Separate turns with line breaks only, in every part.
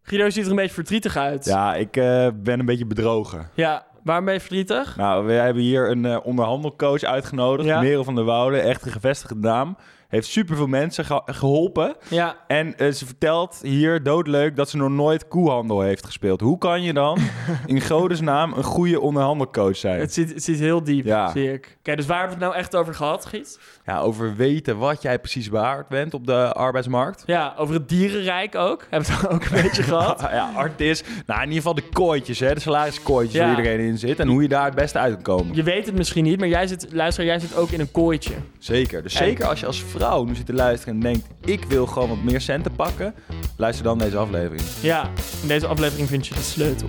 Guido ziet er een beetje verdrietig uit.
Ja, ik eh, ben een beetje bedrogen.
Ja, waarom ben je verdrietig?
Nou, we hebben hier een eh, onderhandelcoach uitgenodigd.
Ja.
Merel van der Woude, echt een gevestigde naam. Heeft superveel mensen ge- geholpen.
Ja,
En eh, ze vertelt hier doodleuk dat ze nog nooit koehandel heeft gespeeld. Hoe kan je dan in godesnaam een goede onderhandelcoach zijn?
het zit, het zit heel diep,
Ja.
zie ik. Oké, dus waar hebben we het nou echt over gehad, Giet?
Ja, over weten wat jij precies waard bent op de arbeidsmarkt.
Ja, over het dierenrijk ook. Hebben we het ook een beetje gehad.
Ah, Ja, artist. Nou, in ieder geval de kooitjes, hè. De salariskooitjes
Ja.
waar iedereen in zit. En hoe je daar het beste uit kan komen.
Je weet het misschien niet, maar jij zit, luister, jij zit ook in een kooitje.
Zeker. Dus
En-
zeker als je als vrouw nu zit te luisteren en denkt... ik wil gewoon wat meer centen pakken... luister dan deze aflevering.
Ja, in deze aflevering vind je de sleutel.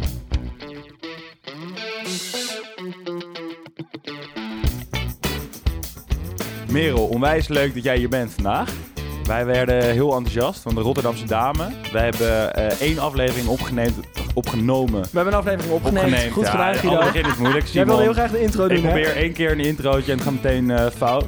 Merel, onwijs leuk dat jij hier bent vandaag. Wij werden heel enthousiast van de Rotterdamse dame. Wij hebben eh, één aflevering opgeneemd, opgenomen.
We hebben een aflevering opgenomen.
Opgeneemd,
Goed
ja,
gedaan, Guido.
Al begin is moeilijk,
Jij
Simon.
wilde heel graag de intro doen,
Ik
hè?
probeer één keer een introotje en het gaat meteen eh, fout.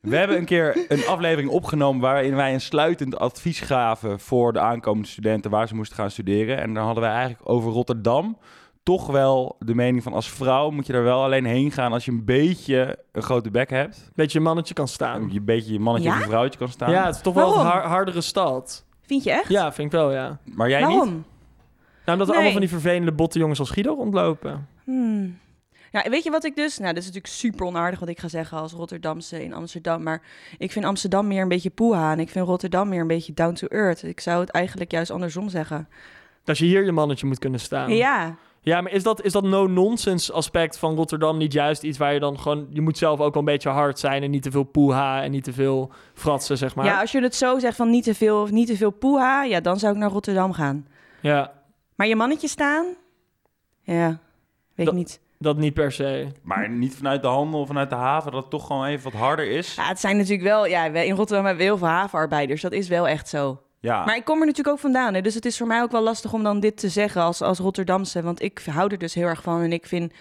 We hebben een keer een aflevering opgenomen waarin wij een sluitend advies gaven voor de aankomende studenten waar ze moesten gaan studeren. En dan hadden wij eigenlijk over Rotterdam toch wel de mening van als vrouw moet je daar wel alleen heen gaan als je een beetje een grote bek hebt.
Dat je een mannetje kan staan.
Je een beetje je mannetje
Ja?
of je vrouwtje kan staan.
Hm. Ja, het is toch wel een
Waarom?
har- hardere stad.
Vind je echt?
Ja, vind ik wel, ja.
Maar jij niet?
Waarom?
Nou, omdat er
Nee.
allemaal van die vervelende botte jongens als Guido rondlopen.
Hmm. Nou, weet je wat ik dus... Nou, dit is natuurlijk super onaardig wat ik ga zeggen als Rotterdamse in Amsterdam. Maar ik vind Amsterdam meer een beetje poeha. En ik vind Rotterdam meer een beetje down to earth. Ik zou het eigenlijk juist andersom zeggen.
Dat je hier je mannetje moet kunnen staan.
Ja.
Ja, maar is dat, is dat no-nonsense aspect van Rotterdam niet juist iets waar je dan gewoon... Je moet zelf ook wel een beetje hard zijn en niet te veel poeha en niet te veel fratsen, zeg maar.
ja, als je het zo zegt van niet te veel of niet te veel poeha... Ja, dan zou ik naar Rotterdam gaan.
ja
Maar je mannetje staan? Ja, weet
Dat-
ik niet.
dat niet per se.
Maar niet vanuit de handel, vanuit de haven, dat het toch gewoon even wat harder is.
Ja, het zijn natuurlijk wel... Ja, we- in Rotterdam hebben we heel veel havenarbeiders. Dat is wel echt zo.
Ja.
Maar ik kom er natuurlijk ook vandaan. Hè? Dus het is voor mij ook wel lastig om dan dit te zeggen als, als Rotterdamse. Want ik hou er dus heel erg van. En ik vind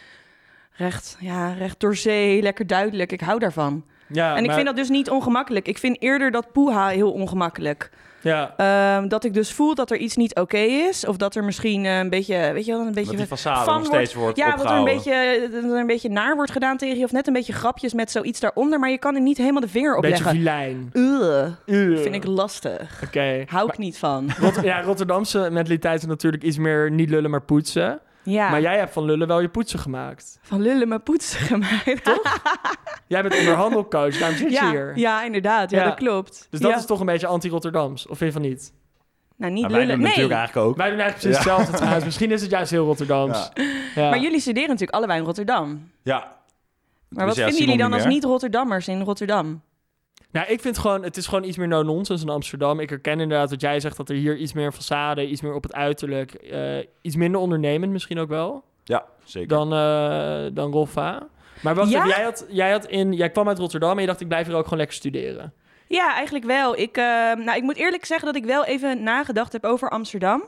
recht, ja, recht door zee, lekker duidelijk. Ik hou daarvan.
Ja,
en ik
maar-
vind dat dus niet ongemakkelijk. Ik vind eerder dat poeha heel ongemakkelijk.
Ja,
Ehm, dat ik dus voel dat er iets niet oké is. Of dat er misschien eh, een beetje, weet je wel, een beetje...
dat die façade
van
nog steeds wordt
ja, dat er, een
opgehouden.
beetje, dat er een beetje naar wordt gedaan tegen je. Of net een beetje grapjes met zoiets daaronder. Maar je kan er niet helemaal de vinger
een
op
beetje
leggen.
vilijn.
Ugh,
Ugh.
vind ik lastig.
Oké.
Hou ik niet van.
Rot- ja, Rotterdamse mentaliteit is natuurlijk iets meer niet lullen, maar poetsen.
Ja.
Maar jij hebt van lullen wel je poetsen gemaakt.
van lullen maar poetsen gemaakt.
Jij bent onderhandelcoach, daarom zit je
Ja,
hier.
ja, inderdaad. Ja,
Ja.
dat klopt.
Dus dat
Ja.
is toch een beetje anti-Rotterdams, of vind je van niet?
Nou, niet
Maar wij
lullen.
doen
Nee,
natuurlijk eigenlijk ook.
Wij doen eigenlijk precies hetzelfde trouwens. Misschien is het juist heel Rotterdams. Ja.
maar jullie studeren natuurlijk allebei in Rotterdam.
Ja.
Maar
Dus ja,
wat vinden
Simon
jullie dan
niet
als
meer.
niet-Rotterdammers in Rotterdam?
Nou, ik vind gewoon, het is gewoon iets meer no-nonsense in Amsterdam. Ik herken inderdaad wat jij zegt, dat er hier iets meer façade, iets meer op het uiterlijk, eh, iets minder ondernemend misschien ook wel,
Ja, zeker.
dan, eh dan Rolfa. Maar wacht
Ja?
even, jij, had, jij, had in, jij kwam uit Rotterdam en je dacht, ik blijf hier ook gewoon lekker studeren.
Ja, eigenlijk wel. Ik, eh, nou, ik moet eerlijk zeggen dat ik wel even nagedacht heb over Amsterdam.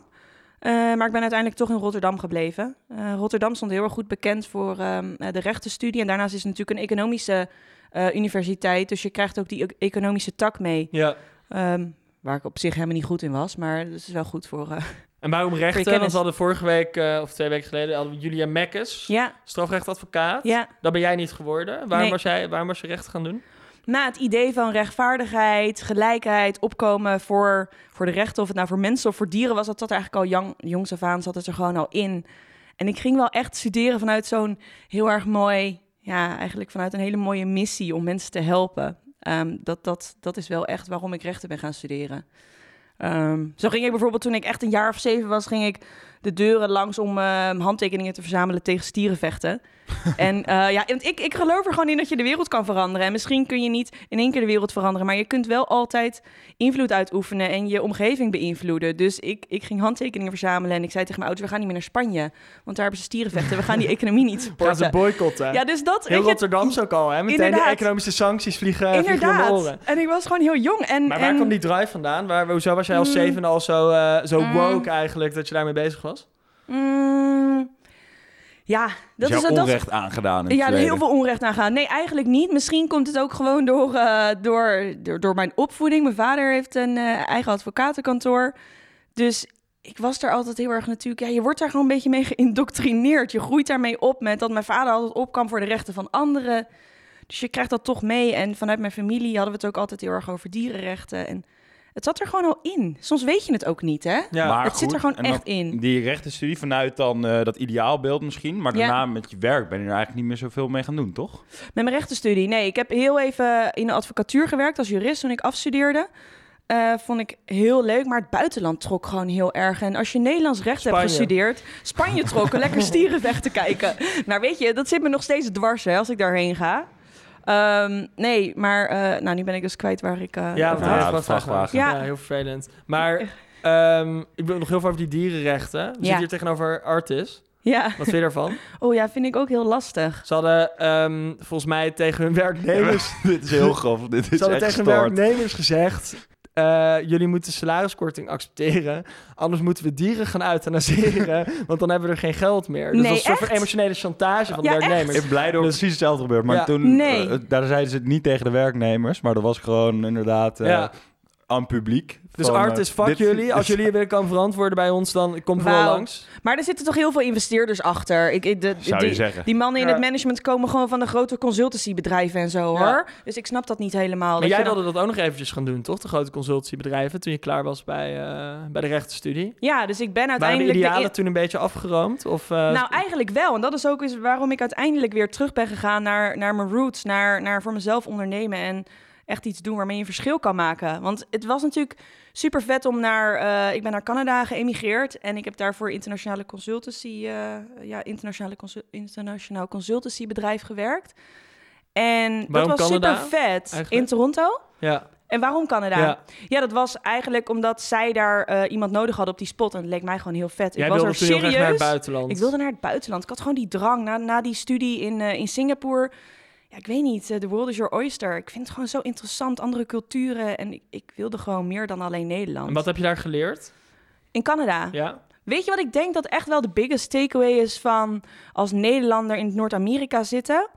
Eh, maar ik ben uiteindelijk toch in Rotterdam gebleven. Eh, Rotterdam stond heel erg goed bekend voor ehm, eh, de rechtenstudie. En daarnaast is het natuurlijk een economische eh, universiteit. Dus je krijgt ook die e- economische tak mee.
Ja.
Ehm, waar ik op zich helemaal niet goed in was. Maar dat is wel goed voor... eh,
En waarom rechten? Want
kennis.
we hadden vorige week, eh, of twee weken geleden, hadden we Julia Mekkes,
ja,
strafrechtadvocaat.
ja.
Dat ben jij niet geworden. Waarom,
Nee.
was, jij, waarom was je recht gaan doen?
Na het idee van rechtvaardigheid, gelijkheid, opkomen voor, voor de rechten, of het nou voor mensen of voor dieren was, dat zat er eigenlijk al jong, jongs af aan, zat het er gewoon al in. En ik ging wel echt studeren vanuit zo'n heel erg mooi, ja, eigenlijk vanuit een hele mooie missie om mensen te helpen. Ehm, dat, dat, dat is wel echt waarom ik rechten ben gaan studeren. Ehm, zo ging ik bijvoorbeeld toen ik echt een jaar of zeven was, ging ik de deuren langs om ehm, handtekeningen te verzamelen tegen stierenvechten. en eh, ja, want ik, ik geloof er gewoon in dat je de wereld kan veranderen. En misschien kun je niet in één keer de wereld veranderen, maar je kunt wel altijd invloed uitoefenen en je omgeving beïnvloeden. Dus ik, ik ging handtekeningen verzamelen en ik zei tegen mijn ouders, we gaan niet meer naar Spanje, want daar hebben ze stierenvechten. We gaan die economie niet
Gaan ze
supporten.
boycotten.
Ja, dus dat...
Heel
weet je,
Rotterdams ook al, hè? Meteen de
Inderdaad.
economische sancties vliegen, vliegen om de oren.
Inderdaad. En ik was gewoon heel jong. En,
Maar waar
en-
kwam die drive vandaan? Waar, hoezo was jij als
Mm.
zeven al zo, eh, zo
Mm.
woke eigenlijk dat je daarmee bezig was?
Mm, ja, dat
is
is
jou
dat.
onrecht aangedaan in het
Ja, er heel
verleden.
veel onrecht aan gaan. Nee, eigenlijk niet. Misschien komt het ook gewoon door, eh, door, door, door mijn opvoeding. Mijn vader heeft een eh, eigen advocatenkantoor. Dus ik was daar altijd heel erg natuurlijk... Ja, je wordt daar gewoon een beetje mee geïndoctrineerd. Je groeit daarmee op met dat mijn vader altijd opkwam voor de rechten van anderen. Dus je krijgt dat toch mee. En vanuit mijn familie hadden we het ook altijd heel erg over dierenrechten. En het zat er gewoon al in. Soms weet je het ook niet, hè?
Ja.
Maar
het zit
goed,
er gewoon
en dan
echt in.
Die rechtenstudie vanuit dan eh, dat ideaalbeeld misschien. Maar
Ja.
daarna met je werk ben je er eigenlijk niet meer zoveel mee gaan doen, toch?
Met mijn rechtenstudie. Nee, ik heb heel even in de advocatuur gewerkt als jurist toen ik afstudeerde. Eh, vond ik heel leuk, maar het buitenland trok gewoon heel erg. En als je Nederlands recht
Spanje.
hebt gestudeerd, Spanje trok, lekker stieren weg te kijken. Nou weet je, dat zit me nog steeds dwars hè, als ik daarheen ga. Ehm, nee, maar eh, nou, nu ben ik dus kwijt waar ik... eh,
Ja,
over
want
ja,
hij
had.
heeft
de
vast
vrachtwagen.
Ja.
Ja.
heel vervelend. Maar ehm, ik wil nog heel veel over die dierenrechten. We
Ja.
zitten hier tegenover Artis.
ja.
Wat vind je daarvan?
Oh ja, vind ik ook heel lastig.
Ze hadden ehm, volgens mij tegen hun werknemers,
dit is heel grof. Dit
ze hadden tegen hun werknemers gezegd... eh, jullie moeten salariskorting accepteren. Anders moeten we dieren gaan euthanaseren. want dan hebben we er geen geld meer. Dus
Nee,
dat is een soort van
echt?
emotionele chantage van de
Ja, echt?
werknemers.
Ik blij door
Dus-
precies hetzelfde gebeurd. Maar
Ja.
toen,
Nee.
eh, daar zeiden ze het niet tegen de werknemers. Maar dat was gewoon inderdaad eh,
Ja.
aan publiek.
Dus
van, eh,
Artis, fuck
dit-
jullie. Als
dit-
jullie je weer kan verantwoorden bij ons, dan kom vooral
Wauw.
langs.
Maar er zitten toch heel veel investeerders achter. Ik, ik, de,
Zou je
die,
zeggen.
die mannen in
Ja.
het management komen gewoon van de grote consultancybedrijven en zo
Ja.
hoor. Dus ik snap dat niet helemaal.
Maar
dat
jij
je dan-
wilde dat ook nog eventjes gaan doen, toch? De grote consultancybedrijven, toen je klaar was bij, eh, bij de rechtenstudie.
Ja, dus ik ben
Waren de
uiteindelijk...
idealen
de-
toen een beetje afgeroomd? Of, eh,
Nou, eigenlijk wel. En dat is ook eens waarom ik uiteindelijk weer terug ben gegaan naar, naar mijn roots. Naar, naar voor mezelf ondernemen en echt iets doen waarmee je een verschil kan maken. Want het was natuurlijk super vet om naar... eh, ik ben naar Canada geëmigreerd en ik heb daarvoor internationale consultancy... eh, ja, internationale consul- internationaal consultancybedrijf gewerkt. En
Waarom
dat was
Canada
super vet.
eigenlijk?
In Toronto?
ja.
En waarom Canada?
ja.
Ja, dat was eigenlijk omdat zij daar eh, iemand nodig hadden op die spot. En het leek mij gewoon heel vet.
Jij
ik was
wilde
er
toen heel
serieus...
graag naar het buitenland.
Ik wilde naar het buitenland. Ik had gewoon die drang. Na, na die studie in, eh, in Singapore. Ja, ik weet niet. eh, The world is your oyster. Ik vind het gewoon zo interessant. Andere culturen. En ik, ik wilde gewoon meer dan alleen Nederland.
En wat heb je daar geleerd?
In Canada.
Ja.
Weet je wat ik denk dat echt wel de biggest takeaway is van als Nederlander in Noord-Amerika zitten?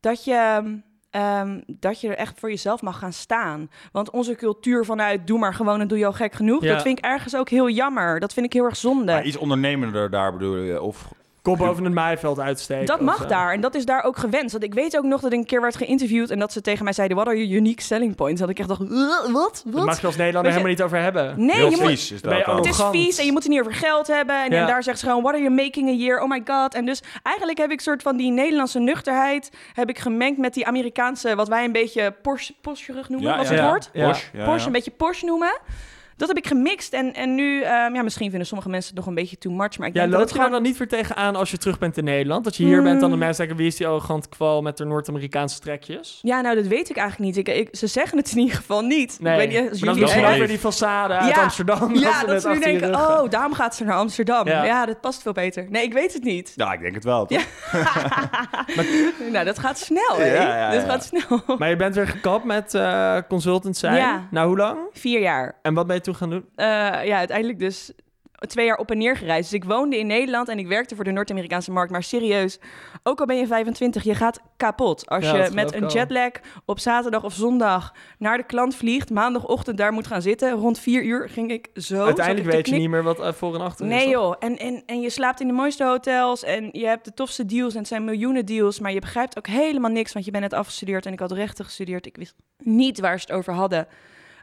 Dat je, ehm, dat je er echt voor jezelf mag gaan staan. Want onze cultuur vanuit doe maar gewoon en doe je al gek genoeg.
Ja.
Dat vind ik ergens ook heel jammer. Dat vind ik heel erg zonde.
Maar iets ondernemender daar bedoel je? Of
Kop boven het maaiveld uitsteken.
Dat
of,
mag
eh,
daar en dat is daar ook gewenst. Want ik weet ook nog dat ik een keer werd geïnterviewd en dat ze tegen mij zeiden: What are your unique selling points? Dat ik echt dacht: "Ugh, Wat?
Daar mag
Wat?
je als Nederlander
Weet je-
helemaal niet over hebben.
Nee,
heel
je moet,
vies is
ben je
dat dan.
ook-
het is
arrogant.
vies en je moet het niet over geld hebben. En, en
Ja.
daar zegt ze gewoon: What are you making a year? Oh my god. En dus eigenlijk heb ik soort van die Nederlandse nuchterheid heb ik gemengd met die Amerikaanse, wat wij een beetje Porsche, Porsche noemen. was het
ja.
woord?
Ja.
Porsche, ja,
Porsche,
ja.
een beetje Porsche noemen. Dat heb ik gemixt. En, en nu, ehm, ja, misschien vinden sommige mensen het nog een beetje too much. Maar ik
Ja,
denk dat
loop
het
je daar
gewoon. Hmm.
dan niet weer tegenaan als je terug bent in Nederland? Dat je hier bent, dan de mensen zeggen, wie is die arrogant kwal met de Noord-Amerikaanse trekjes?
Ja, nou, dat weet ik eigenlijk niet. Ik, ik- ze zeggen het in ieder geval niet.
Nee,
ik weet niet,
maar
als
dat is
jullie-
wel
misschien
echt-
ook weer die façade uit
Ja.
Amsterdam.
Ja,
ze
dat
net
ze
achter
nu
je
denken,
rug gaan.
oh, daarom gaat ze naar Amsterdam.
Ja.
Ja. dat past veel beter. Nee, ik weet het niet.
Ja, ik denk het wel. toch?
nou, dat gaat snel, hè?
Ja, ja,
Dat
ja.
gaat snel.
Maar je bent weer gekapt met eh, consultant zijn.
Ja.
Nou, hoe lang?
Vier jaar.
En wat ben je toen gaan doen?
Eh, ja, uiteindelijk dus twee jaar op en neer gereisd. Dus ik woonde in Nederland en ik werkte voor de Noord-Amerikaanse markt. Maar serieus, ook al ben je 25, je gaat kapot. Als
Ja, dat
je
geloof
met
ik
een
al.
jetlag op zaterdag of zondag naar de klant vliegt, maandagochtend daar moet gaan zitten. Rond vier uur ging ik zo. zat Oh, ik
Uiteindelijk
te
weet je
knikken.
niet meer wat eh, voor en achter is.
Nee joh, en, en, en je slaapt in de mooiste hotels en je hebt de tofste deals en het zijn miljoenen deals, maar je begrijpt ook helemaal niks, want je bent net afgestudeerd en ik had rechten gestudeerd. Ik wist niet waar ze het over hadden.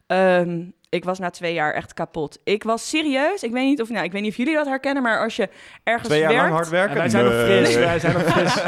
Ehm, ik was na twee jaar echt kapot. Ik was serieus, ik weet niet of, nou, ik weet niet of jullie dat herkennen, maar als je ergens
Twee jaar
werkt...
lang hard
En
werken?
wij zijn nog
Nee.
fris, wij zijn nog fris.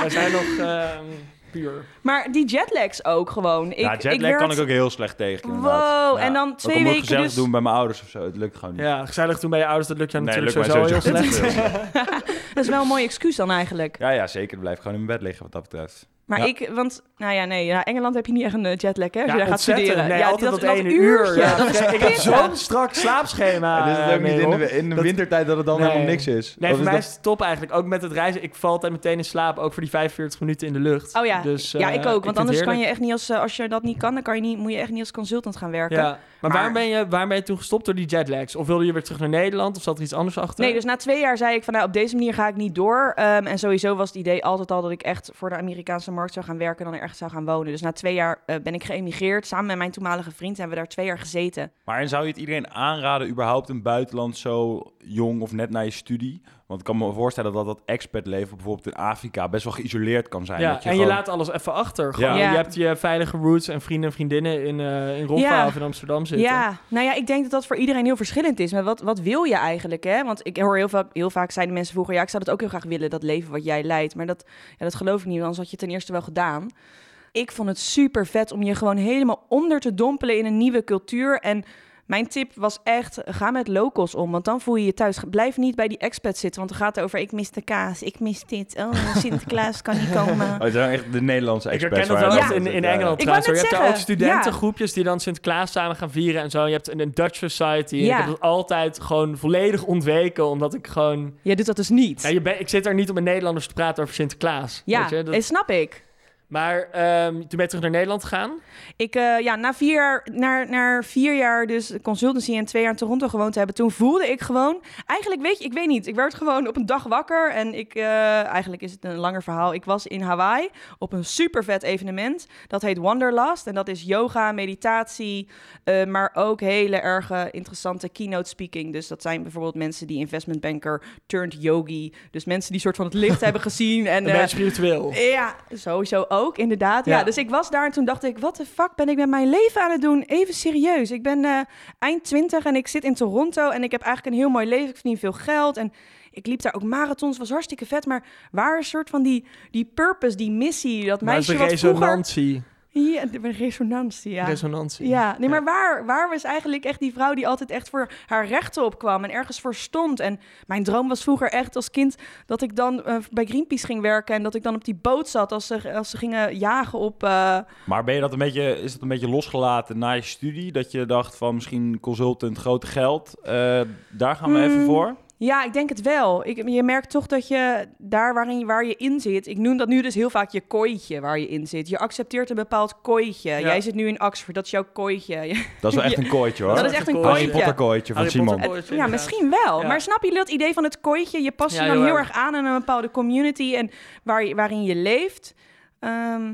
wij zijn nog ehm, puur.
Maar die jetlags ook gewoon. Ik,
ja, jetlag
ik werd-
kan ik ook heel slecht tegen. inderdaad.
Wow,
Ja.
en dan
Ook
twee
om het
weken
gezellig
dus-
doen bij mijn ouders of zo. Het lukt gewoon niet.
Ja, gezellig toen bij je ouders, dat lukt jou
Nee,
natuurlijk
lukt mij
sowieso heel
sowieso
slecht.
heel slecht.
Dat is wel een mooi excuus dan eigenlijk.
Ja, ja, zeker. Blijf gewoon in mijn bed liggen wat dat betreft.
Maar
Ja.
ik, want, nou ja, nee, ja, Engeland heb je niet echt een eh, jetlag, hè? Als je daar gaat
ontzettend.
studeren.
Nee,
ja,
altijd dat, ene
uurtje,
uur. Ja.
dat is
ik heb
pittig.
zo'n strak slaapschema.
En is het
eh,
ook niet in
Merel.
de, in de
Dat-
wintertijd dat het dan
Nee.
helemaal niks is?
Nee,
Of
voor
is
mij
dat-
is het top eigenlijk. Ook met het reizen. Ik val altijd meteen in slaap, ook voor die 45 minuten in de lucht.
Oh ja,
Dus,
ja
eh,
ik ook. Want
vind
anders
het
kan
heerlijk.
je echt niet als, eh, als je dat niet kan, dan kan je niet, moet je echt niet als consultant gaan werken.
Ja. Maar, Waarom,
Maar-
ben je, waarom ben je toen gestopt door die jetlags? Of wilde je weer terug naar Nederland? Of zat er iets anders achter?
Nee, dus na twee jaar zei ik van nou, op deze manier ga ik niet door. Ehm, en sowieso was het idee altijd al dat ik echt voor de Amerikaanse supermarkt zou gaan werken en dan ergens zou gaan wonen. Dus na twee jaar eh, ben ik geëmigreerd. Samen met mijn toenmalige vriend hebben we daar twee jaar gezeten.
Maar en zou je het iedereen aanraden, überhaupt een buitenland zo jong of net na je studie? Want ik kan me voorstellen dat dat expat-leven bijvoorbeeld in Afrika best wel geïsoleerd kan zijn.
ja,
dat
en je
gewoon-
laat alles even achter. Gewoon,
Ja.
Je hebt je veilige roots en vrienden en vriendinnen in, eh in Roffa
Ja.
of in Amsterdam zitten.
Ja, nou ja, ik denk dat dat voor iedereen heel verschillend is. Maar wat, wat wil je eigenlijk, hè? Want ik hoor heel vaak, heel vaak zeiden mensen vroeger... ja, ik zou dat ook heel graag willen, dat leven wat jij leidt. Maar dat, ja, dat geloof ik niet, want anders had je het ten eerste wel gedaan. Ik vond het super vet om je gewoon helemaal onder te dompelen in een nieuwe cultuur. En mijn tip was echt, ga met locals om, want dan voel je je thuis. Blijf niet bij die expat zitten, want dan gaat het over... ik mis de kaas, ik mis dit, oh, Sinterklaas kan niet komen.
Oh, het zijn echt de Nederlandse
Ik
expats.
herken dat
waar
wel
je
echt
dan
in,
zit,
in
ja, ja.
Engeland
Ik wou
trouwens.
net
hoor. Je hebt daar ook
zeggen,
studentengroepjes die dan Sinterklaas samen gaan vieren en zo. Je hebt een- een Dutch Society. En
Ja.
Ik heb dat altijd gewoon volledig ontweken, omdat ik gewoon...
Jij doet dat dus niet.
Ja, je ben- ik zit er niet om met Nederlanders te praten over Sinterklaas.
Ja,
weet je? Dat-
eh, snap ik.
Maar ehm, toen ben je terug naar Nederland gegaan.
Ik, eh, ja, na vier jaar, naar, naar vier jaar dus consultancy en twee jaar in Toronto gewoond te hebben, toen voelde ik gewoon, eigenlijk weet je, ik weet niet, ik werd gewoon op een dag wakker en ik, eh, eigenlijk is het een langer verhaal, ik was in Hawaii op een super vet evenement, dat heet Wanderlust en dat is yoga, meditatie, eh, maar ook hele erg eh, interessante keynote speaking, dus dat zijn bijvoorbeeld mensen die investmentbanker turned yogi, dus mensen die soort van het licht hebben gezien en
Een
eh,
beetje spiritueel.
ja, sowieso ook, inderdaad. Ja.
Ja.
dus ik was daar en toen dacht ik, wat de fuck ben ik met mijn leven aan het doen? Even serieus. Ik ben eh, eind twintig en ik zit in Toronto en ik heb eigenlijk een heel mooi leven. Ik verdien veel geld en ik liep daar ook marathons, was hartstikke vet. Maar waar een soort van die, die purpose, die missie, dat
Maar
meisje
de
wat vroeger...
resonantie.
Ja, de resonantie, ja.
Resonantie.
Ja, nee, maar waar, waar was eigenlijk echt die vrouw die altijd echt voor haar rechten opkwam en ergens voor stond? En mijn droom was vroeger echt als kind dat ik dan eh, bij Greenpeace ging werken en dat ik dan op die boot zat als ze, als ze gingen jagen op. eh,
Maar ben je dat een beetje, is dat een beetje losgelaten na je studie? Dat je dacht van misschien consultant, grote geld, eh, daar gaan we even
Mm.
voor?
Ja, ik denk het wel. Ik, je merkt toch dat je daar waarin, waar je in zit. Ik noem dat nu dus heel vaak je kooitje waar je in zit. Je accepteert een bepaald kooitje. Jij zit nu in Oxford, dat is jouw kooitje.
Dat is wel echt een kooitje hoor.
dat is echt een
Harry
Harry
kooitje.
Potter kooitje van
Harry
Simon.
Potter. Kooitje,
ja,
ja.
misschien wel.
Ja.
Maar snap je dat idee van het kooitje? Je past
Ja,
je dan
heel
heel
erg.
erg aan aan een bepaalde community en waar, je- waarin je leeft. Ehm,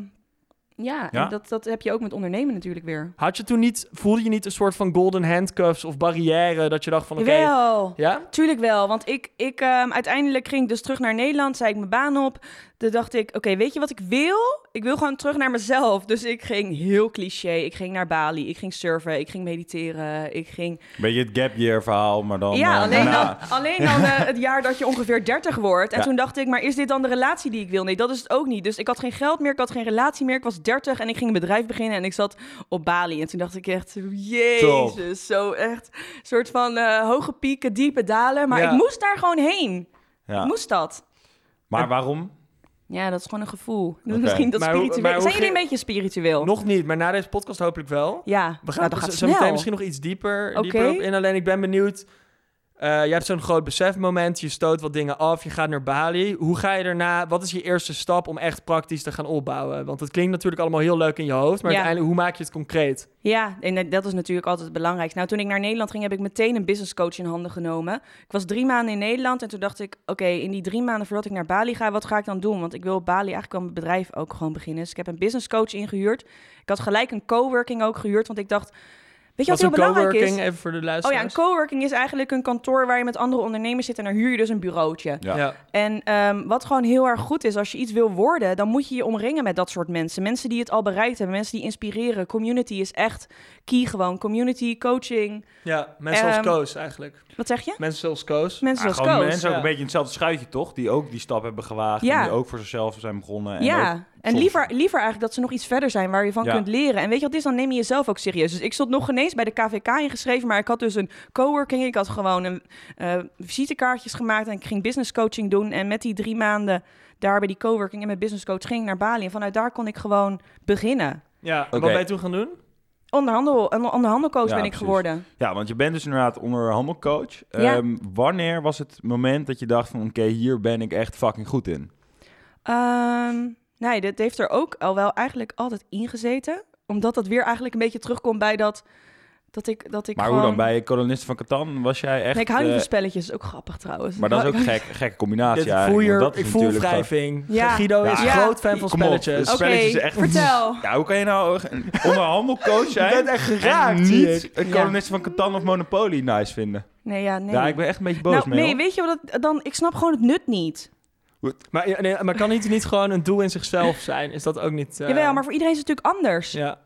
ja, en
Ja.
Dat, dat heb je ook met ondernemen natuurlijk weer.
Had je toen niet, voelde je niet een soort van golden handcuffs of barrière dat je dacht van oké,
Jawel.
ja?
Tuurlijk wel, want ik, ik ehm, uiteindelijk ging ik dus terug naar Nederland, zei ik mijn baan op. Toen dacht ik, oké, weet je wat ik wil? Ik wil gewoon terug naar mezelf. Dus ik ging heel cliché. Ik ging naar Bali, ik ging surfen, ik ging mediteren, ik ging
Beetje het gap year verhaal, maar dan...
Ja,
eh,
alleen
na-
dan, alleen dan eh, het jaar dat je ongeveer 30 wordt. En
Ja.
toen dacht ik, maar is dit dan de relatie die ik wil? Nee, dat is het ook niet. Dus ik had geen geld meer, ik had geen relatie meer. Ik was 30 en ik ging een bedrijf beginnen en ik zat op Bali. En toen dacht ik echt, jezus, zo echt. Een soort van eh, hoge pieken, diepe dalen. Maar
Ja.
ik moest daar gewoon heen.
Ja.
Ik moest dat.
Maar waarom?
Ja, dat is gewoon een gevoel.
Oké.
Misschien dat
Maar hoe-
spiritueel.
maar hoe
Zijn jullie
ging-
een beetje spiritueel?
Nog niet, maar na deze podcast hopelijk wel.
Ja,
We
nou,
gaan
dat gaat
z- zo meteen
snel.
misschien nog iets dieper,
Oké.
dieper op in. Alleen ik ben benieuwd. eh, je hebt zo'n groot besefmoment, je stoot wat dingen af, je gaat naar Bali. Hoe ga je daarna? Wat is je eerste stap om echt praktisch te gaan opbouwen? Want het klinkt natuurlijk allemaal heel leuk in je hoofd, maar
Ja.
uiteindelijk, hoe maak je het concreet?
Ja, en dat- dat is natuurlijk altijd het belangrijkste. Nou, toen ik naar Nederland ging, heb ik meteen een business coach in handen genomen. Ik was drie maanden in Nederland en toen dacht ik, oké, in die drie maanden voordat ik naar Bali ga, wat ga ik dan doen? Want ik wil op Bali eigenlijk wel mijn bedrijf ook gewoon beginnen. Dus ik heb een business coach ingehuurd. Ik had gelijk een coworking ook gehuurd, want ik dacht, weet je wat
Wat
heel
een
belangrijk
coworking, eh,
is?
even voor de
Oh ja, een
luisteraars.
coworking is eigenlijk een kantoor waar je met andere ondernemers zit en daar huur je dus een bureautje.
Ja.
En ehm, wat gewoon heel erg goed is, als je iets wil worden, dan moet je je omringen met dat soort mensen. Mensen die het al bereikt hebben, mensen die inspireren. Community is echt key gewoon. Community, coaching.
Ja, mensen
Ehm,
zoals Koos eigenlijk.
Wat zeg je?
Mensen zoals Koos.
Mensen
Ah,
zoals
gewoon
Koos.
mensen ook
ja.
een beetje in hetzelfde schuitje, toch? Die ook die stap hebben gewaagd
Ja.
en die ook voor zichzelf zijn begonnen. En ook-
ja, en
soms-
liever, liever eigenlijk dat ze nog iets verder zijn waar je van
Ja.
kunt leren. En weet je wat het is, dan neem je jezelf ook serieus. Dus ik stond nog ineens bij de KVK ingeschreven, maar ik had dus een coworking. Ik had gewoon een, eh, visitekaartjes gemaakt en ik ging business coaching doen. En met die drie maanden daar bij die coworking en mijn business coach ging ik naar Bali. En vanuit daar kon ik gewoon beginnen.
Ja,
Oké.
wat ben je toen gaan doen?
Onderhandel, een onderhandelcoach
Ja,
ben ik
precies.
geworden.
Ja, want je bent dus inderdaad onderhandelcoach.
Ja.
Ehm, wanneer was het moment dat je dacht van... oké, hier ben ik echt fucking goed in?
Ehm, nee, dit heeft er ook al wel eigenlijk altijd ingezeten. Omdat dat weer eigenlijk een beetje terugkomt bij dat Dat ik, dat ik
Maar hoe
gewoon...
dan? Bij kolonisten van Catan was jij echt...
nee, ik hou niet
eh,
van spelletjes. Dat is ook grappig trouwens.
Maar dat is ook een gek, gekke combinatie
Dit- ik voel,
eigenlijk.
hier-
want dat is
ik voel
natuurlijk gewoon-
wrijving.
Ja.
Guido is
Ja.
groot fan van
Kom op,
spelletjes.
het
Oké,
spelletjes is echt-
vertel.
Ja, hoe kan je nou een onderhandelcoach
Oh,
zijn?
bent echt geraakt,
En
zie ik.
niet een kolonist van Catan of Monopoly nice vinden.
Nee, ja, nee.
Ja, ik ben echt een beetje boos
nou,
mee.
nee,
hoor.
weet je wat? het- Dan, ik snap gewoon het nut niet.
Maar, ja, nee, maar kan het niet gewoon een doel in zichzelf zijn? Is dat ook niet... eh,
Jawel, maar voor iedereen is het natuurlijk anders.
Ja. Oh,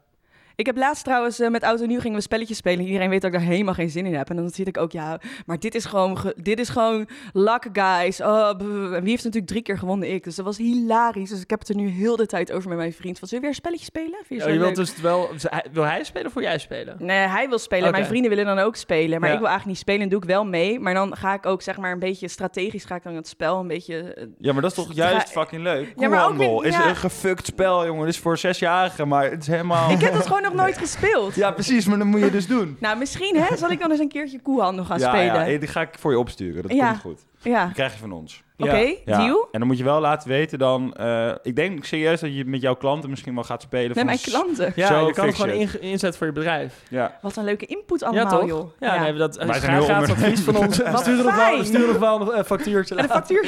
Ik heb laatst trouwens eh, met Auto Nieuw gingen we spelletjes spelen. Iedereen weet dat ik daar helemaal geen zin in heb. En dan zit ik ook, ja, maar dit is gewoon, ge- dit is gewoon luck, guys. Oh, b- b- en wie heeft natuurlijk drie keer gewonnen? Ik. Dus dat was hilarisch. Dus ik heb het er nu heel de tijd over met mijn vriend. Van, zullen we weer een spelletje spelen? Vind je
Ja,
zo
je wilt
leuk?
dus wel... Wil hij spelen of wil jij spelen?
Nee, hij wil spelen.
Oké.
Mijn vrienden willen dan ook spelen. Maar
Ja.
ik wil eigenlijk niet spelen. En doe ik wel mee. Maar dan ga ik ook, zeg maar, een beetje strategisch ga ik dan het spel een beetje... eh,
Ja, maar dat is toch
Stra-
juist fucking leuk?
Ja, maar ook
Koehandel
niet-
is
ja.
een gefukt spel, jongen. Het is voor zesjarigen, maar het is helemaal...
Ik heb dat gewoon nog nooit gespeeld.
Ja, precies, maar dat moet je dus doen.
Nou, misschien hè, zal ik dan eens een keertje koehandel gaan
ja, ja,
spelen. Ja,
eh, die ga ik voor je opsturen. Dat
Ja.
komt goed. Die krijg je van ons.
Ja.
oké,
Ja.
deal.
En dan moet je wel laten weten dan... eh, ik denk serieus dat je met jouw klanten misschien wel gaat spelen.
Met
van
mijn
s-
klanten.
Ja,
Zo
je kan het
fix
gewoon
je
inge- inzetten voor je bedrijf.
Ja.
Wat een leuke input allemaal,
toch?
joh.
Ja, Nee, dat
Wij
is
zijn heel
graag gratis
onder-
advies van ons.
Wat
stuur nog wel,
fijn.
stuur nog wel een eh, factuurtje.
En de factuur.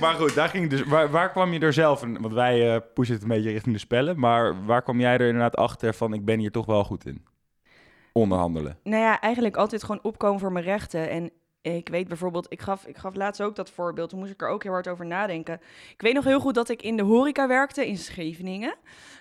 Maar goed, daar ging dus, waar, waar kwam je er zelf... in? Want wij eh, pushen het een beetje richting de spellen. Maar waar kwam jij er inderdaad achter van... Ik ben hier toch wel goed in? Onderhandelen.
Nou ja, eigenlijk altijd gewoon opkomen voor mijn rechten. En ik weet bijvoorbeeld, ik gaf, ik gaf laatst ook dat voorbeeld. Toen moest ik er ook heel hard over nadenken. Ik weet nog heel goed dat ik in de horeca werkte in Scheveningen.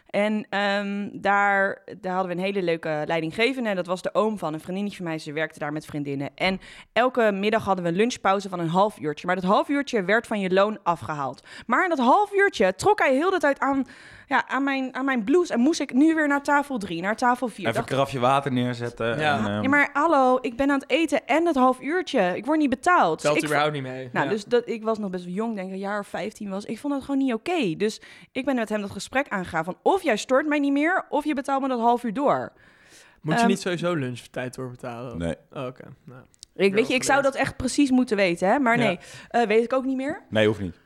En ehm, daar, daar hadden we een hele leuke leidinggevende. En dat was de oom van een vriendinnetje van mij. Ze werkte daar met vriendinnen. En elke middag hadden we een lunchpauze van een half uurtje. Maar dat half uurtje werd van je loon afgehaald. Maar in dat half uurtje trok hij heel de tijd aan, ja, aan, mijn, aan mijn blouse. En moest ik nu weer naar tafel drie, naar tafel vier.
Even een
Dacht
krafje water neerzetten.
Ja.
en, ehm,
ja, maar hallo, ik ben aan het eten en het half uurtje. Ik word niet betaald.
Telt
ik vo-
überhaupt niet mee.
nou,
Ja.
dus dat, ik was nog best wel jong, denk ik, een jaar of 15 was. Ik vond dat gewoon niet oké. Dus ik ben met hem dat gesprek aangegaan van... of jij stort mij niet meer, of je betaalt me dat half uur door.
Moet je
ehm,
niet sowieso lunchtijd doorbetalen?
Nee.
Oh, Oké. Nou.
Ik, weet je, ik zou dat echt precies moeten weten, hè? Maar
Ja.
nee, eh, weet ik ook niet meer.
Nee, hoeft niet.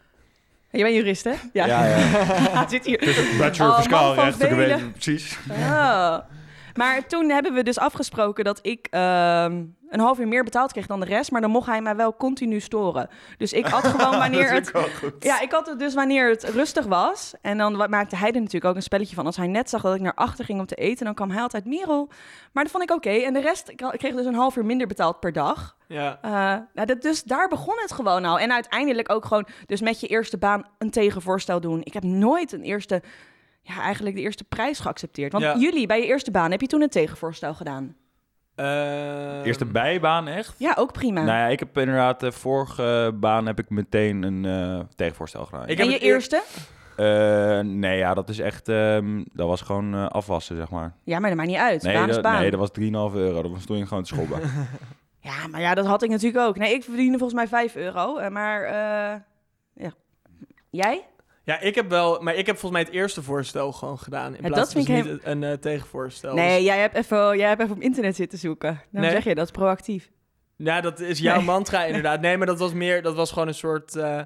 Je bent jurist, hè? Ja. Zit hier.
Bachelor
Oh,
fiscaal
man van
recht, ik weet
velen.
het precies.
Oh. Maar toen hebben we dus afgesproken dat ik ehm, een half uur meer betaald kreeg dan de rest. Maar dan mocht hij mij wel continu storen. Dus ik had gewoon wanneer het. Ja, ik had het dus wanneer het rustig was. En dan wa- maakte hij er natuurlijk ook een spelletje van. Als hij net zag dat ik naar achter ging om te eten, dan kwam hij altijd Merel. Maar dat vond ik oké. En de rest, ik had- ik kreeg dus een half uur minder betaald per dag.
Ja.
Eh, nou, dat, dus daar begon het gewoon al. En uiteindelijk ook gewoon, dus met je eerste baan een tegenvoorstel doen. Ik heb nooit een eerste, ja, eigenlijk de eerste prijs geaccepteerd. Want
Ja.
jullie, bij je eerste baan, heb je toen een tegenvoorstel gedaan?
Ehm,
Eerste bijbaan echt?
Ja, ook prima.
Nou ja, ik heb inderdaad de vorige baan heb ik meteen een eh, tegenvoorstel gedaan.
Ik-
en
heb
je
het eer-
eerste?
Eh, nee, ja, dat is echt, ehm, dat was gewoon eh, afwassen, zeg maar.
Ja, maar dat maakt niet uit.
Nee,
baan is
dat,
baan.
nee, dat was 3,5 euro. Dat was toen je gewoon te schoppen.
Ja, maar ja, dat had ik natuurlijk ook. Nee, ik verdiende volgens mij 5 euro. eh, Maar, eh, ja. Jij?
Ja, ik heb wel... Maar ik heb volgens mij het eerste voorstel gewoon gedaan. In
Ja,
plaats
dat vind
van
ik
dus niet een eh, tegenvoorstel.
Nee,
Dus-
jij hebt, even, jij hebt even op internet zitten zoeken. Dan
Nee.
zeg je dat proactief.
Ja, Nou, dat is jouw
Nee.
mantra inderdaad. Nee, maar dat was meer... Dat was gewoon een soort... eh,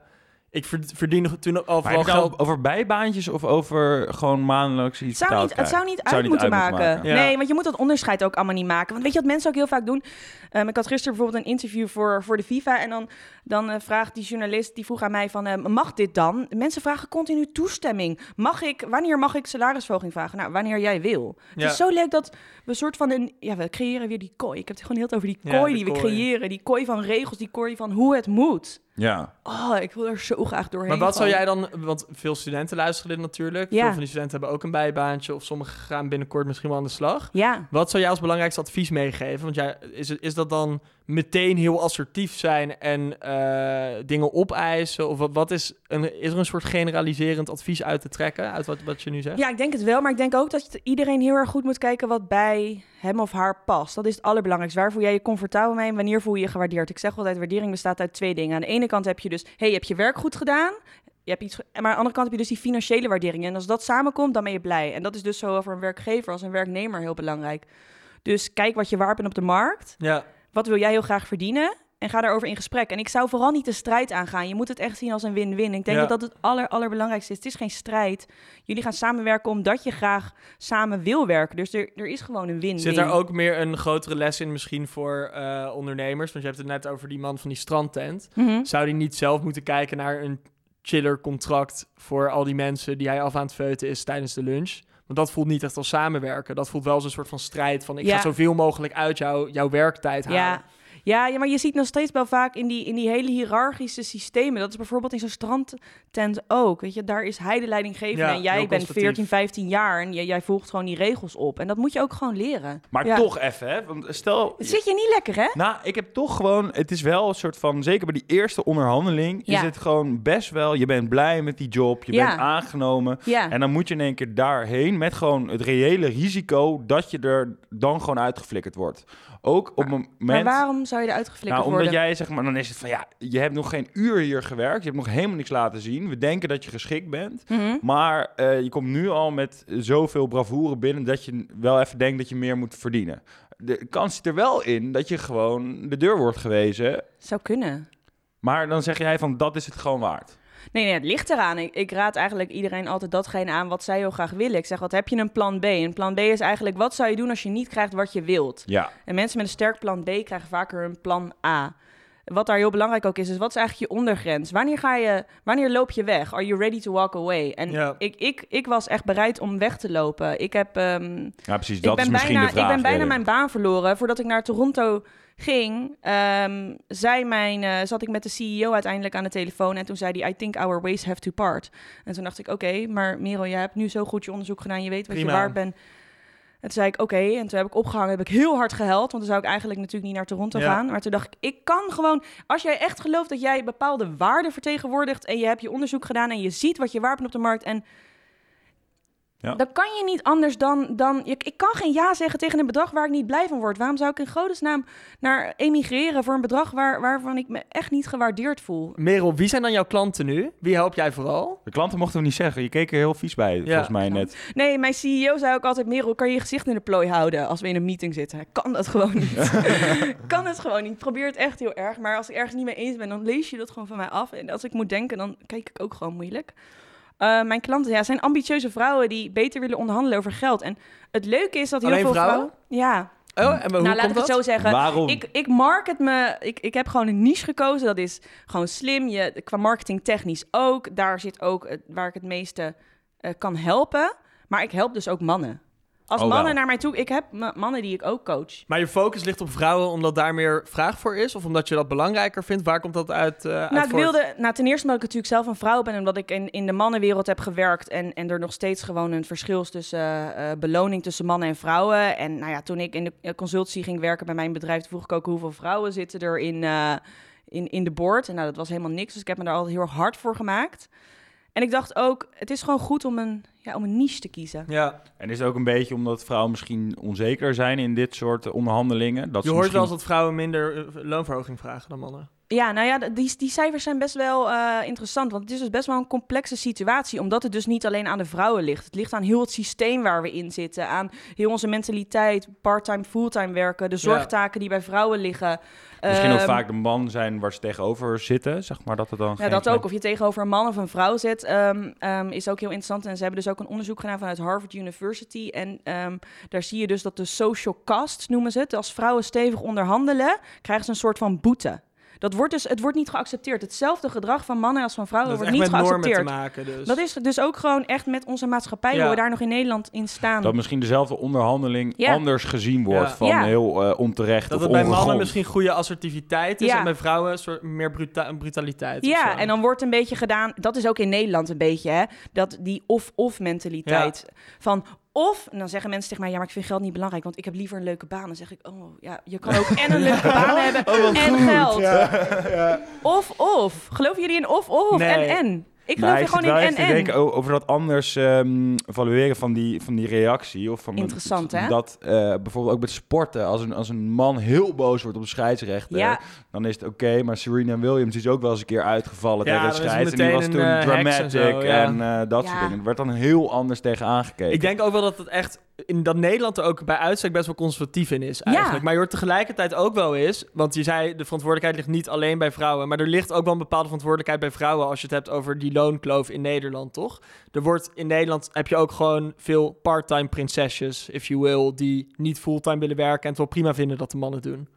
ik verd- verdien nog- toen al
maar heb
vooral
je het nou
geld...
over bijbaantjes of over gewoon maandelijks iets
Het zou,
betaald
niet, het zou niet uit
zou niet
moeten
uit
maken.
moeten maken.
Ja.
Nee, want je moet dat onderscheid ook allemaal niet maken. Want weet je wat mensen ook heel vaak doen? Ehm, ik had gisteren bijvoorbeeld een interview voor, voor de FIFA. En dan, dan eh, vraagt die journalist, die vroeg aan mij van... ehm, mag dit dan? Mensen vragen continu toestemming. Mag ik, wanneer mag ik salarisverhoging vragen? Nou, wanneer jij wil.
Ja.
Het is zo leuk dat we een soort van... Een, ja, we creëren weer die kooi. Ik heb het gewoon heel het over die
Ja, de
kooi die we
kooi.
creëren. Die kooi van regels, die kooi van hoe het moet.
Ja.
Oh, ik wil er zo graag doorheen
Maar wat zou
gaan.
jij dan... Want veel studenten luisteren dit natuurlijk.
Ja.
Veel van die studenten hebben ook een bijbaantje. Of sommigen gaan binnenkort misschien wel aan de slag.
Ja.
Wat zou jij als belangrijkste advies meegeven? Want jij, is, het- is dat dan meteen heel assertief zijn en eh, dingen opeisen? Of wat, wat is, een, is er een soort generaliserend advies uit te trekken uit wat, wat je nu zegt?
Ja, ik denk het wel. Maar ik denk ook dat je- iedereen heel erg goed moet kijken wat bij hem of haar past. Dat is het allerbelangrijkste. Waar voel jij je comfortabel mee en wanneer voel je je gewaardeerd? Ik zeg altijd, waardering bestaat uit twee dingen. Aan de ene kant heb je dus, hey, heb je werk goed gedaan? Je hebt iets, ge- maar aan de andere kant heb je dus die financiële waardering. En als dat samenkomt, dan ben je blij. En dat is dus zowel voor een werkgever als een werknemer heel belangrijk. Dus kijk wat je waard bent op de markt.
Ja,
Wat wil jij heel graag verdienen? en ga daarover in gesprek. En ik zou vooral niet de strijd aangaan. Je moet het echt zien als een win-win. Ik denk
Ja.
dat dat het aller, allerbelangrijkste is. Het is geen strijd. Jullie gaan samenwerken omdat je graag samen wil werken. Dus er, er is gewoon een win-win.
Zit daar ook meer een grotere les in misschien voor eh, ondernemers? Want je hebt het net over die man van die strandtent.
Mhm.
Zou die niet zelf moeten kijken naar een chiller contract voor al die mensen die hij af aan het feuten is tijdens de lunch? Want dat voelt niet echt als samenwerken. Dat voelt wel als een soort van strijd van ik
Ja.
ga zoveel mogelijk uit jou, jouw werktijd halen.
Ja. Ja, ja, maar je ziet nog steeds wel vaak in die, in die hele hiërarchische systemen. Dat is bijvoorbeeld in zo'n strandtent ook. Weet je, daar is hij de leidinggevende
Ja,
en
heel
jij bent
conservatief.
14, 15 jaar en jij, jij volgt gewoon die regels op. En dat moet je ook gewoon leren.
Maar
Ja.
toch even, hè? Want stel.
Het zit je niet lekker, hè?
Nou, ik heb toch gewoon. Het is wel een soort van. Zeker bij die eerste onderhandeling. Is
Ja.
het gewoon best wel. Je bent blij met die job. Je
Ja.
bent aangenomen.
Ja.
En dan moet je in één keer daarheen met gewoon het reële risico dat je er dan gewoon uitgeflikkerd wordt. Ook op het
Maar
moment.
waarom zou je eruit geflikkerd
nou, omdat
worden?
jij zeg maar, dan is het van ja, je hebt nog geen uur hier gewerkt, je hebt nog helemaal niks laten zien. We denken dat je geschikt bent,
Mhm.
maar eh, je komt nu al met zoveel bravoure binnen dat je wel even denkt dat je meer moet verdienen. De kans zit er wel in dat je gewoon de deur wordt gewezen,
Zou kunnen.
maar dan zeg jij van dat is het gewoon waard.
Nee, nee, het ligt eraan. Ik, ik raad eigenlijk iedereen altijd datgene aan wat zij heel graag willen. Ik zeg, wat heb je een plan B? Een plan B is eigenlijk, wat zou je doen als je niet krijgt wat je wilt?
Ja,
En mensen met een sterk plan B krijgen vaker een plan A. Wat daar heel belangrijk ook is, is wat is eigenlijk je ondergrens? Wanneer, ga je, wanneer loop je weg? Are you ready to walk away? En
Ja.
ik, ik, ik was echt bereid om weg te lopen. Ik heb... ehm,
ja precies,
ik
dat is
ben,
misschien
bijna,
de vraag.
ik ben bijna
Erik.
mijn baan verloren. Voordat ik naar Toronto ging, ehm, zei mijn, eh, zat ik met de CEO uiteindelijk aan de telefoon. En toen zei hij, I think our ways have to part. En toen dacht ik, oké, maar Merel, jij hebt nu zo goed je onderzoek gedaan. Je weet wat
Prima.
je waard bent. En toen zei ik, oké. En toen heb ik opgehangen, heb ik heel hard gehuild. Want dan zou ik eigenlijk natuurlijk niet naar Toronto
Ja.
gaan. Maar toen dacht ik, ik kan gewoon... Als jij echt gelooft dat jij bepaalde waarden vertegenwoordigt... en je hebt je onderzoek gedaan en je ziet wat je waard bent op de markt... en
Ja.
dan kan je niet anders dan... dan ik, ik kan geen ja zeggen tegen een bedrag waar ik niet blij van word. Waarom zou ik in godesnaam naar emigreren voor een bedrag... Waar, waarvan ik me echt niet gewaardeerd voel?
Merel, wie zijn dan jouw klanten nu? Wie help jij vooral?
De klanten mochten we niet zeggen, je keek er heel vies bij volgens mij net.
Nee, mijn CEO zei ook altijd... Merel, kan je je gezicht in de plooi houden als we in een meeting zitten? Ik Kan dat gewoon niet. kan het gewoon niet. Ik probeer het echt heel erg. Maar als ik ergens niet mee eens ben, dan lees je dat gewoon van mij af. En als ik moet denken, dan kijk ik ook gewoon moeilijk. Eh, mijn klanten ja, zijn ambitieuze vrouwen die beter willen onderhandelen over geld. En het leuke is dat heel
Alleen
veel
vrouwen?
Ja,
Oh, en hoe
nou
komt
laat ik het
dat?
zo zeggen.
Waarom?
Ik, ik market me, ik, ik heb gewoon een niche gekozen. Dat is gewoon slim. Je, qua marketing technisch ook. Daar zit ook het- waar ik het meeste eh, kan helpen. Maar ik help dus ook mannen. Als
Oh,
mannen
wauw.
naar mij toe, ik heb ma- mannen die ik ook coach.
Maar je focus ligt op vrouwen omdat daar meer vraag voor is? Of omdat je dat belangrijker vindt? Waar komt dat uit? eh, uit
Nou, ik
voort?
wilde, nou, ten eerste omdat ik natuurlijk zelf een vrouw ben, omdat ik in, in de mannenwereld heb gewerkt en, en er nog steeds gewoon een verschil is tussen eh, eh, beloning tussen mannen en vrouwen. En nou ja, toen ik in de eh, consultie ging werken bij mijn bedrijf, vroeg ik ook hoeveel vrouwen zitten er in, eh, in, in de board. En nou, dat was helemaal niks, dus ik heb me daar altijd heel erg hard voor gemaakt. En ik dacht ook, het is gewoon goed om een, ja, om een niche te kiezen.
Ja,
En is het ook een beetje omdat vrouwen misschien onzeker zijn in dit soort eh, onderhandelingen? Dat
je
ze
hoort wel eens
misschien-
dat vrouwen minder eh, loonverhoging vragen dan mannen.
Ja, nou ja, d- die, die cijfers zijn best wel eh, interessant. Want het is dus best wel een complexe situatie. Omdat het dus niet alleen aan de vrouwen ligt. Het ligt aan heel het systeem waar we in zitten. Aan heel onze mentaliteit, part-time, fulltime werken. De zorgtaken die bij vrouwen liggen.
misschien ook
Ehm,
vaak de man zijn waar ze tegenover zitten, zeg maar, dat het dan
ja,
geen-
dat ook. Of je tegenover een man of een vrouw zit, ehm, ehm, is ook heel interessant. En ze hebben dus ook een onderzoek gedaan vanuit Harvard University. En ehm, daar zie je dus dat de social cost, noemen ze het. Als vrouwen stevig onderhandelen, krijgen ze een soort van boete. Dat wordt dus, het wordt niet geaccepteerd. Hetzelfde gedrag van mannen als van vrouwen
dat heeft
wordt
echt
niet
met normen te
geaccepteerd.
maken. Dus.
Dat is dus ook gewoon echt met onze maatschappij,
Ja.
hoe we daar nog in Nederland in staan.
Dat misschien dezelfde onderhandeling
Ja.
anders gezien wordt
Ja.
van
Ja.
heel eh, onterecht
Dat
of
het bij mannen
ongegrond.
misschien goede assertiviteit is
Ja.
en bij vrouwen een soort meer bruta- brutaliteit. of
Ja,
zo.
en dan wordt een beetje gedaan, dat is ook in Nederland een beetje, hè, dat die of-of mentaliteit. Van of, en dan zeggen mensen tegen mij, ja, maar ik vind geld niet belangrijk, want ik heb liever een leuke baan. Dan zeg ik, oh ja, je kan ook en een leuke baan hebben en geld. Of-of. Geloven jullie in of-of
Nee.
en en? Ik
Maar hij
geloof er
zit
gewoon in
wel
en
even te
en.
denken o- over dat anders ehm, evalueren van die, van die reactie. Of van
Interessant,
dat,
hè?
Dat eh, bijvoorbeeld ook met sporten. Als een, als een man heel boos wordt op de scheidsrechter,
Ja.
dan is het oké. maar Serena Williams is ook wel eens een keer
Ja,
uitgevallen tegen de
dan is het
scheids. En die was
meteen
toen
een, eh, heks en
dramatic en,
zo, ja.
eh, dat
Ja.
soort dingen. Er werd dan heel anders tegen aangekeken.
Ik denk ook wel dat het echt in dat Nederland er ook bij uitstek best wel conservatief in is eigenlijk.
Ja.
Maar je hoort tegelijkertijd ook wel eens, want je zei de verantwoordelijkheid ligt niet alleen bij vrouwen, maar er ligt ook wel een bepaalde verantwoordelijkheid bij vrouwen als je het hebt over die loonkloof in Nederland, toch? Er wordt in Nederland heb je ook gewoon veel part-time prinsesjes, if you will, die niet fulltime willen werken en het wel prima vinden dat de mannen doen.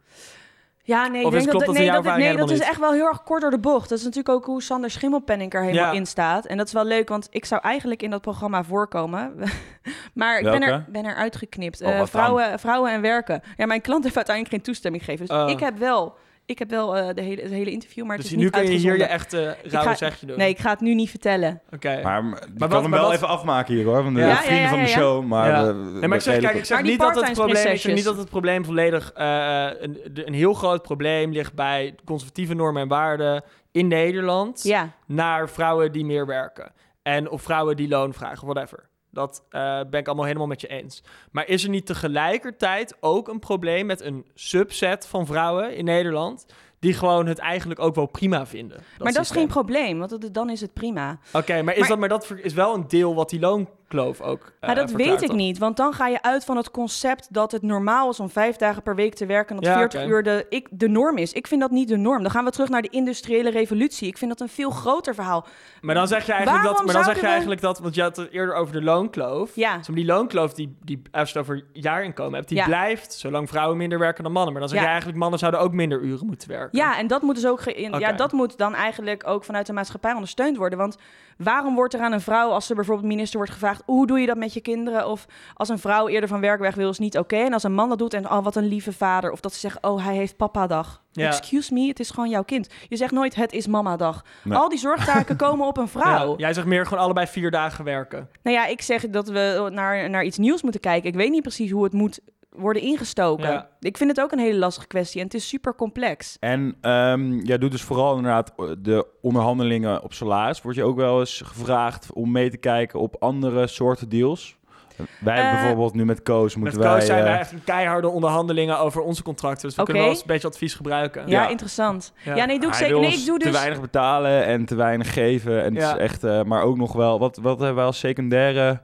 Ja, nee, ik
Of is-
denk dat,
klopt dat in
nee,
jouw
dat,
ervaring
nee, dat is
helemaal
echt wel heel erg kort door de bocht. Dat is natuurlijk ook hoe Sander Schimmelpenninck er helemaal
Ja.
in staat. En dat is wel leuk, want ik zou eigenlijk in dat programma voorkomen. maar ik ben er,
Welke?
ben er uitgeknipt.
Oh,
Eh,
wat
vrouwen, vrouwen en werken. Ja, mijn klant heeft uiteindelijk geen toestemming gegeven. Dus
Oh.
ik heb wel, ik heb wel eh, de hele, het hele interview, maar het
dus
is
nu
niet
kun je hier je
uitgezonden.
echte
ga-
rauwe zegje doen.
Nee, ik ga het nu niet vertellen.
Oké.
Maar, maar die
wat-
kan hem
maar
wel
wat-
even afmaken hier hoor, van de
Ja, ja,
vrienden
ja,
van de
ja, ja.
show. Maar,
Ja.
eh,
Nee, maar ik zeg, kijk, ik zeg,
Maar die
niet dat, het
part-time
probleem, ik zeg
prinsesjes.
niet dat het probleem volledig... eh, een, de- een heel groot probleem ligt bij conservatieve normen en waarden in Nederland...
Ja.
naar vrouwen die meer werken. En of vrouwen die loon vragen, whatever. Dat eh, ben ik allemaal helemaal met je eens. Maar is er niet tegelijkertijd ook een probleem met een subset van vrouwen in Nederland... die gewoon het eigenlijk ook wel prima vinden?
maar dat is
systeem?
geen probleem, want dat- dan is het prima.
Oké, maar, is,
maar-
dat, maar dat ver- is wel een deel wat die loonkloof ook eh,
Maar dat
verklaart,
weet ik
toch?
niet, want dan ga je uit van het concept dat het normaal is om vijf dagen per week te werken en dat
Ja,
40
oké.
uur de, ik, de norm is. Ik vind dat niet de norm. Dan gaan we terug naar de industriële revolutie. Ik vind dat een veel groter verhaal.
Maar dan zeg je eigenlijk dat.
Waarom
Maar dan zeg je
zouden we-
eigenlijk dat. Want je had het eerder over de loonkloof.
Ja.
Dus die loonkloof die, die als je het over jaarinkomen hebt, die
Ja.
blijft zolang vrouwen minder werken dan mannen. Maar dan zeg
Ja.
je eigenlijk mannen zouden ook minder uren moeten werken.
Ja, en dat moet dus ook ge- in- ja,
Oké.
dat moet dan eigenlijk ook vanuit de maatschappij ondersteund worden. Want waarom wordt er aan een vrouw, als ze bijvoorbeeld minister wordt gevraagd, hoe doe je dat met je kinderen? Of als een vrouw eerder van werk weg wil, is niet oké. En als een man dat doet en oh, wat een lieve vader. Of dat ze zeggen, oh, hij heeft papa-dag.
Ja.
Excuse me, het is gewoon jouw kind. Je zegt nooit, het is mama-dag.
Nee.
Al die zorgtaken komen op een vrouw.
Ja, jij zegt meer gewoon allebei vier dagen werken.
Nou ja, ik zeg dat we naar, naar iets nieuws moeten kijken. Ik weet niet precies hoe het moet worden ingestoken.
Ja.
Ik vind het ook een hele lastige kwestie en het is super complex.
En ehm, jij doet dus vooral inderdaad de onderhandelingen op salaris. Word je ook wel eens gevraagd om mee te kijken op andere soorten deals? Wij
Eh,
bijvoorbeeld nu met Koos
Met
moeten
Koos zijn
wij...
wij
eh,
echt een keiharde onderhandelingen over onze contracten. Dus we
Oké.
kunnen wel eens een beetje advies gebruiken.
Ja,
Ja.
interessant. Ja.
Ja.
nee, doe ik
hij
zeker.
wil
Nee,
ons
ik doe
te
dus.
weinig betalen en te weinig geven. En het
Ja.
is echt, eh, maar ook nog wel... Wat, wat hebben wij als secundaire...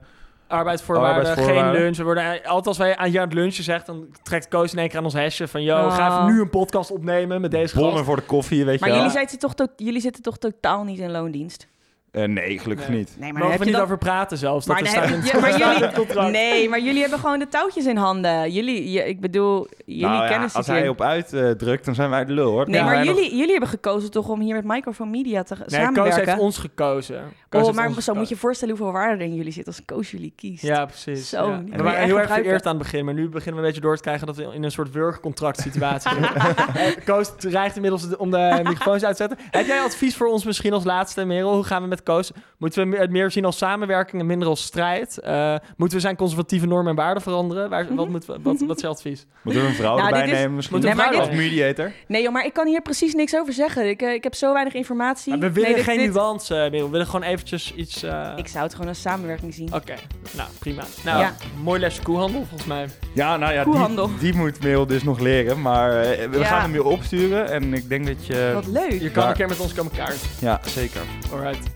Arbeidsvoorwaarden,
Arbeidsvoorwaarden.
geen lunch. We worden, e- altijd als wij aan jou aan het lunchen zegt, dan trekt Koos in één keer aan ons hesje van... yo, we
Oh.
gaan even nu een podcast opnemen met deze
Bonnen
gast.
voor de koffie, weet
Maar
je wel.
jullie, zitten toch to- jullie zitten toch totaal niet in loondienst?
Eh, nee, gelukkig
Nee.
niet.
Nee,
Mogen we niet over praten zelfs. Dat
Maar,
is
dan
staat in
heb-
het-
ja, maar
staat in het
jullie,
contract.
nee, maar jullie hebben gewoon de touwtjes in handen. Jullie, je- ik bedoel, jullie
Nou ja,
kennen
als
zich
hij
in.
op uitdrukt, drukt, dan zijn wij de lul, hoor.
Nee,
Dan
maar
zijn wij nog-
jullie, jullie hebben gekozen toch om hier met Microphone Media te
Nee, Koos
samenwerken.
heeft ons gekozen. Koos
oh,
heeft
maar
ons
zo moet je
gekozen.
voorstellen hoeveel waarde er in jullie zit als Koos jullie kiest.
Ja, precies.
Zo,
ja.
die
We
moet je
waren heel erg
echt gebruiken.
vereerd aan het begin, maar nu beginnen we een beetje door te krijgen dat we in een soort wurgcontract situatie zitten. Eh, Koos dreigt inmiddels de- om de microfoons uit te zetten. Heb jij advies voor ons misschien als laatste, Merel? Hoe gaan we met Koos? Moeten we me- het meer zien als samenwerking en minder als strijd? Eh, moeten we zijn conservatieve normen en waarden veranderen? Waar,
Mhm.
wat, moeten we, wat, wat is je advies?
Moeten we een vrouw
Nou,
erbij
dit is-
nemen misschien?
Moeten
we Nee, maar
Als
vrouwen-
mediator?
Nee, joh, maar ik kan hier precies niks over zeggen. Ik, eh, ik heb zo weinig informatie.
Maar we willen
Nee, dit-
geen
dit-
nuance, eh, Merel. We willen gewoon eventjes iets... eh,
Ik zou het gewoon als samenwerking zien.
Oké, nou prima. Nou,
Ja.
mooi lesje koehandel volgens mij.
Ja, nou ja,
Koehandel.
die, die moet Merel dus nog leren. Maar eh, we
Ja.
gaan hem weer opsturen. En ik denk dat
eh,
je...
Wat leuk.
Je
Oké,
kan
Maar-
een keer met ons komen kaart.
Ja, zeker.
Alright,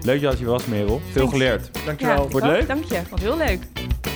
Leuk dat je was, Merel. Veel
Thanks.
geleerd.
dankjewel.
ja, ik
Wordt
ook.
leuk?
Dank je. Wat heel leuk.